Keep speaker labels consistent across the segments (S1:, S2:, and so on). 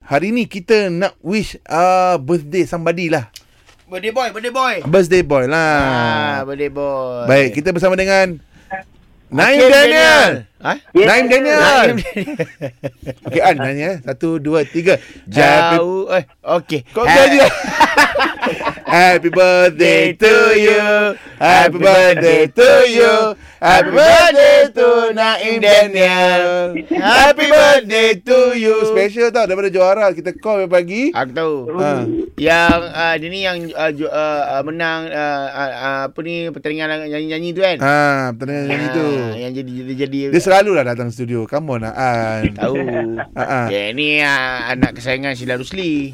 S1: Hari ni kita nak wish uh, birthday somebody lah.
S2: Birthday boy, birthday boy.
S1: Birthday boy
S2: Ah,
S1: lah.
S2: birthday boy.
S1: Baik, kita bersama dengan Naim
S2: Hakim
S1: Daniel.
S2: Ha?
S1: Daniel. Naim Daniel.
S2: Naim
S1: Okey, An, nyanyi eh. Satu, dua, tiga. Happy
S2: Jauh. Eh, okey.
S1: Kau tanya Happy birthday to you Happy birthday to you Happy birthday to Naim Daniel Happy birthday to you Special tau daripada juara Kita call pagi
S2: Aku tahu.
S1: ha.
S2: Yang uh, dia ni yang uh, ju- uh, uh, menang uh, uh, uh, apa ni pertandingan nyanyi-nyanyi tu kan.
S1: ha, Pertandingan nyanyi
S2: Ah,
S1: tu
S2: Yang jadi jadi jadi.
S1: Dia selalu lah datang studio Come on lah An
S2: tahu.
S1: Ha, ha.
S2: Dia ni uh, anak kesayangan Sheila Rusli.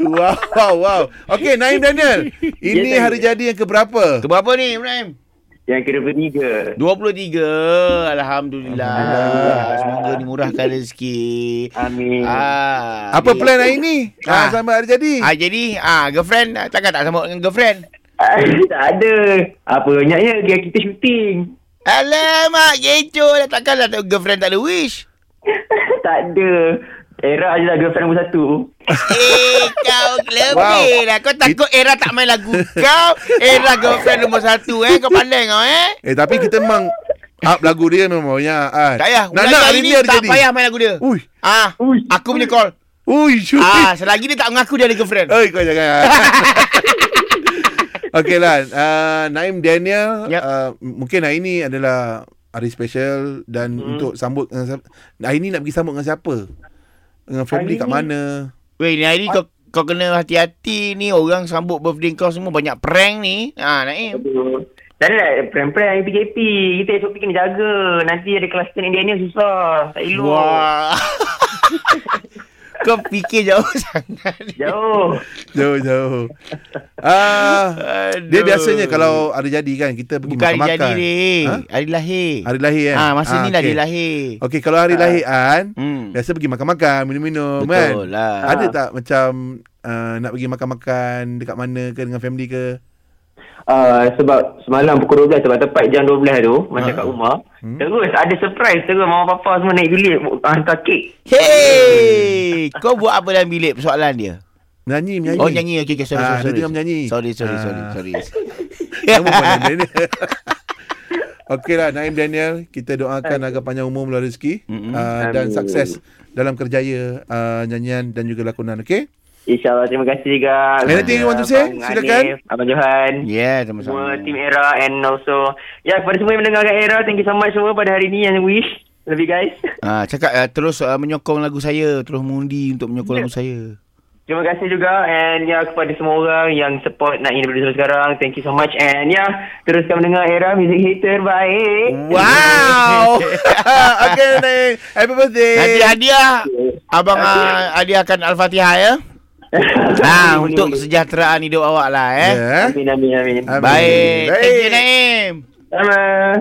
S1: Wow wow wow Okay Naim Daniel Ini hari jadi yang keberapa?
S2: Keberapa ni Ibrahim?
S3: Yang kira bertiga.
S2: 23 Alhamdulillah,
S1: Alhamdulillah.
S2: Semoga dimurahkan rezeki
S3: Amin.
S2: ah,
S1: Apa
S2: jadi-
S1: plan hari ni? Ha,
S2: Ah.
S1: sampai hari jadi
S2: Ah jadi ah girlfriend ah, takkan tak sambut dengan girlfriend.
S3: Ah, tak ada. Apa banyaknya dia kita syuting.
S2: Alamak kecoh lah. dah takkanlah tak girlfriend tak ada wish.
S3: tak ada. Era je lah girlfriend nombor satu.
S2: Eh kau lebih lah Kau takut era tak main lagu kau Era girlfriend nombor satu eh Kau pandai kau eh
S1: Eh tapi kita memang up lagu dia memang banyak kan.
S2: Tak payah
S1: Nak
S2: Ulang
S1: nak
S2: kali
S1: hari
S2: ni
S1: ni ada
S2: tak
S1: jadi.
S2: payah main lagu dia
S1: Ui.
S2: Ah,
S3: Ui.
S2: Aku punya call
S1: Ui. Syuri.
S2: Ah, Selagi dia tak mengaku dia ada girlfriend
S1: Oi kau jangan. Okey lah. Uh, Naim Daniel.
S2: Yep.
S1: Uh, mungkin hari ni adalah hari special. Dan hmm. untuk sambut. Dengan, siapa- hari ni nak pergi sambut dengan siapa? Dengan family
S3: Hari
S1: kat
S3: ni-
S1: mana?
S2: Weh ni hari ni kau kau kena hati-hati ni orang sambut birthday kau semua banyak prank ni. Ha Naim.
S3: Aduh. Tak ada lah prank-prank PKP. Kita esok pergi kena jaga. Nanti ada kelas Naim Daniel susah. Tak elok.
S2: Wah. kau fikir jauh sangat. ni.
S3: Jauh.
S1: Jauh jauh. Ah,
S2: Aduh.
S1: dia biasanya kalau ada jadi kan kita pergi
S2: bukan hari
S1: makan-makan.
S2: jadi ni,
S1: Ha?
S2: hari lahir.
S1: Hari lahir kan?
S2: Ah, masa ni lah
S1: okey.
S2: dia lahir. Ah.
S1: Okey, kalau hari lahir An,
S2: Hmm.
S1: Biasa pergi makan-makan, minum-minum kan.
S2: Betul lah.
S3: Ah.
S1: Ada tak macam uh, nak pergi makan-makan dekat mana ke dengan family ke?
S3: Uh, sebab semalam pukul 12 sebab tepat jam 12 tu masa kat rumah hmm. terus ada surprise terus mama papa semua naik bilik hantar kek
S2: Hey, kau buat apa dalam bilik persoalan dia?
S1: Menyanyi, menyanyi.
S2: Oh nyanyi okey okey sorry
S1: Ah,
S2: sorry.
S1: dia
S2: sorry.
S1: tengah menyanyi.
S2: Sorry sorry
S1: Ah.
S2: sorry sorry.
S1: Nama pun Naim Daniel. Okey lah, Naim Daniel. Kita doakan agar panjang umur melalui rezeki
S2: Mm-mm.
S1: uh, dan
S3: Amin.
S1: sukses dalam kerjaya uh, nyanyian dan juga lakonan, okey?
S3: insyaallah terima kasih juga
S1: Anything you want to say?
S3: Abang
S1: Silakan.
S3: Hanif, abang Johan
S2: Yeah,
S3: semua
S2: Ya, sama-sama.
S3: team Era and also ya kepada semua yang mendengarkan Era thank you so much semua pada hari ni yang wish love you guys
S2: Ah, cakap uh, terus uh, menyokong lagu saya, terus mengundi untuk menyokong lagu saya.
S3: terima kasih juga and ya kepada semua orang yang support nak ini daripada sekarang thank you so much and ya teruskan mendengar Era music hit terbaik
S2: Hmm.
S1: Wow! okay, Naim. Happy birthday.
S2: Nanti hadiah abang uh, hadiahkan al-Fatihah ya. Ha, untuk kesejahteraan hidup awak lah eh.
S1: Yeah.
S3: Amin amin amin
S1: Amin.
S2: Baik. Thank you
S1: Baik.
S2: Naim.
S3: sama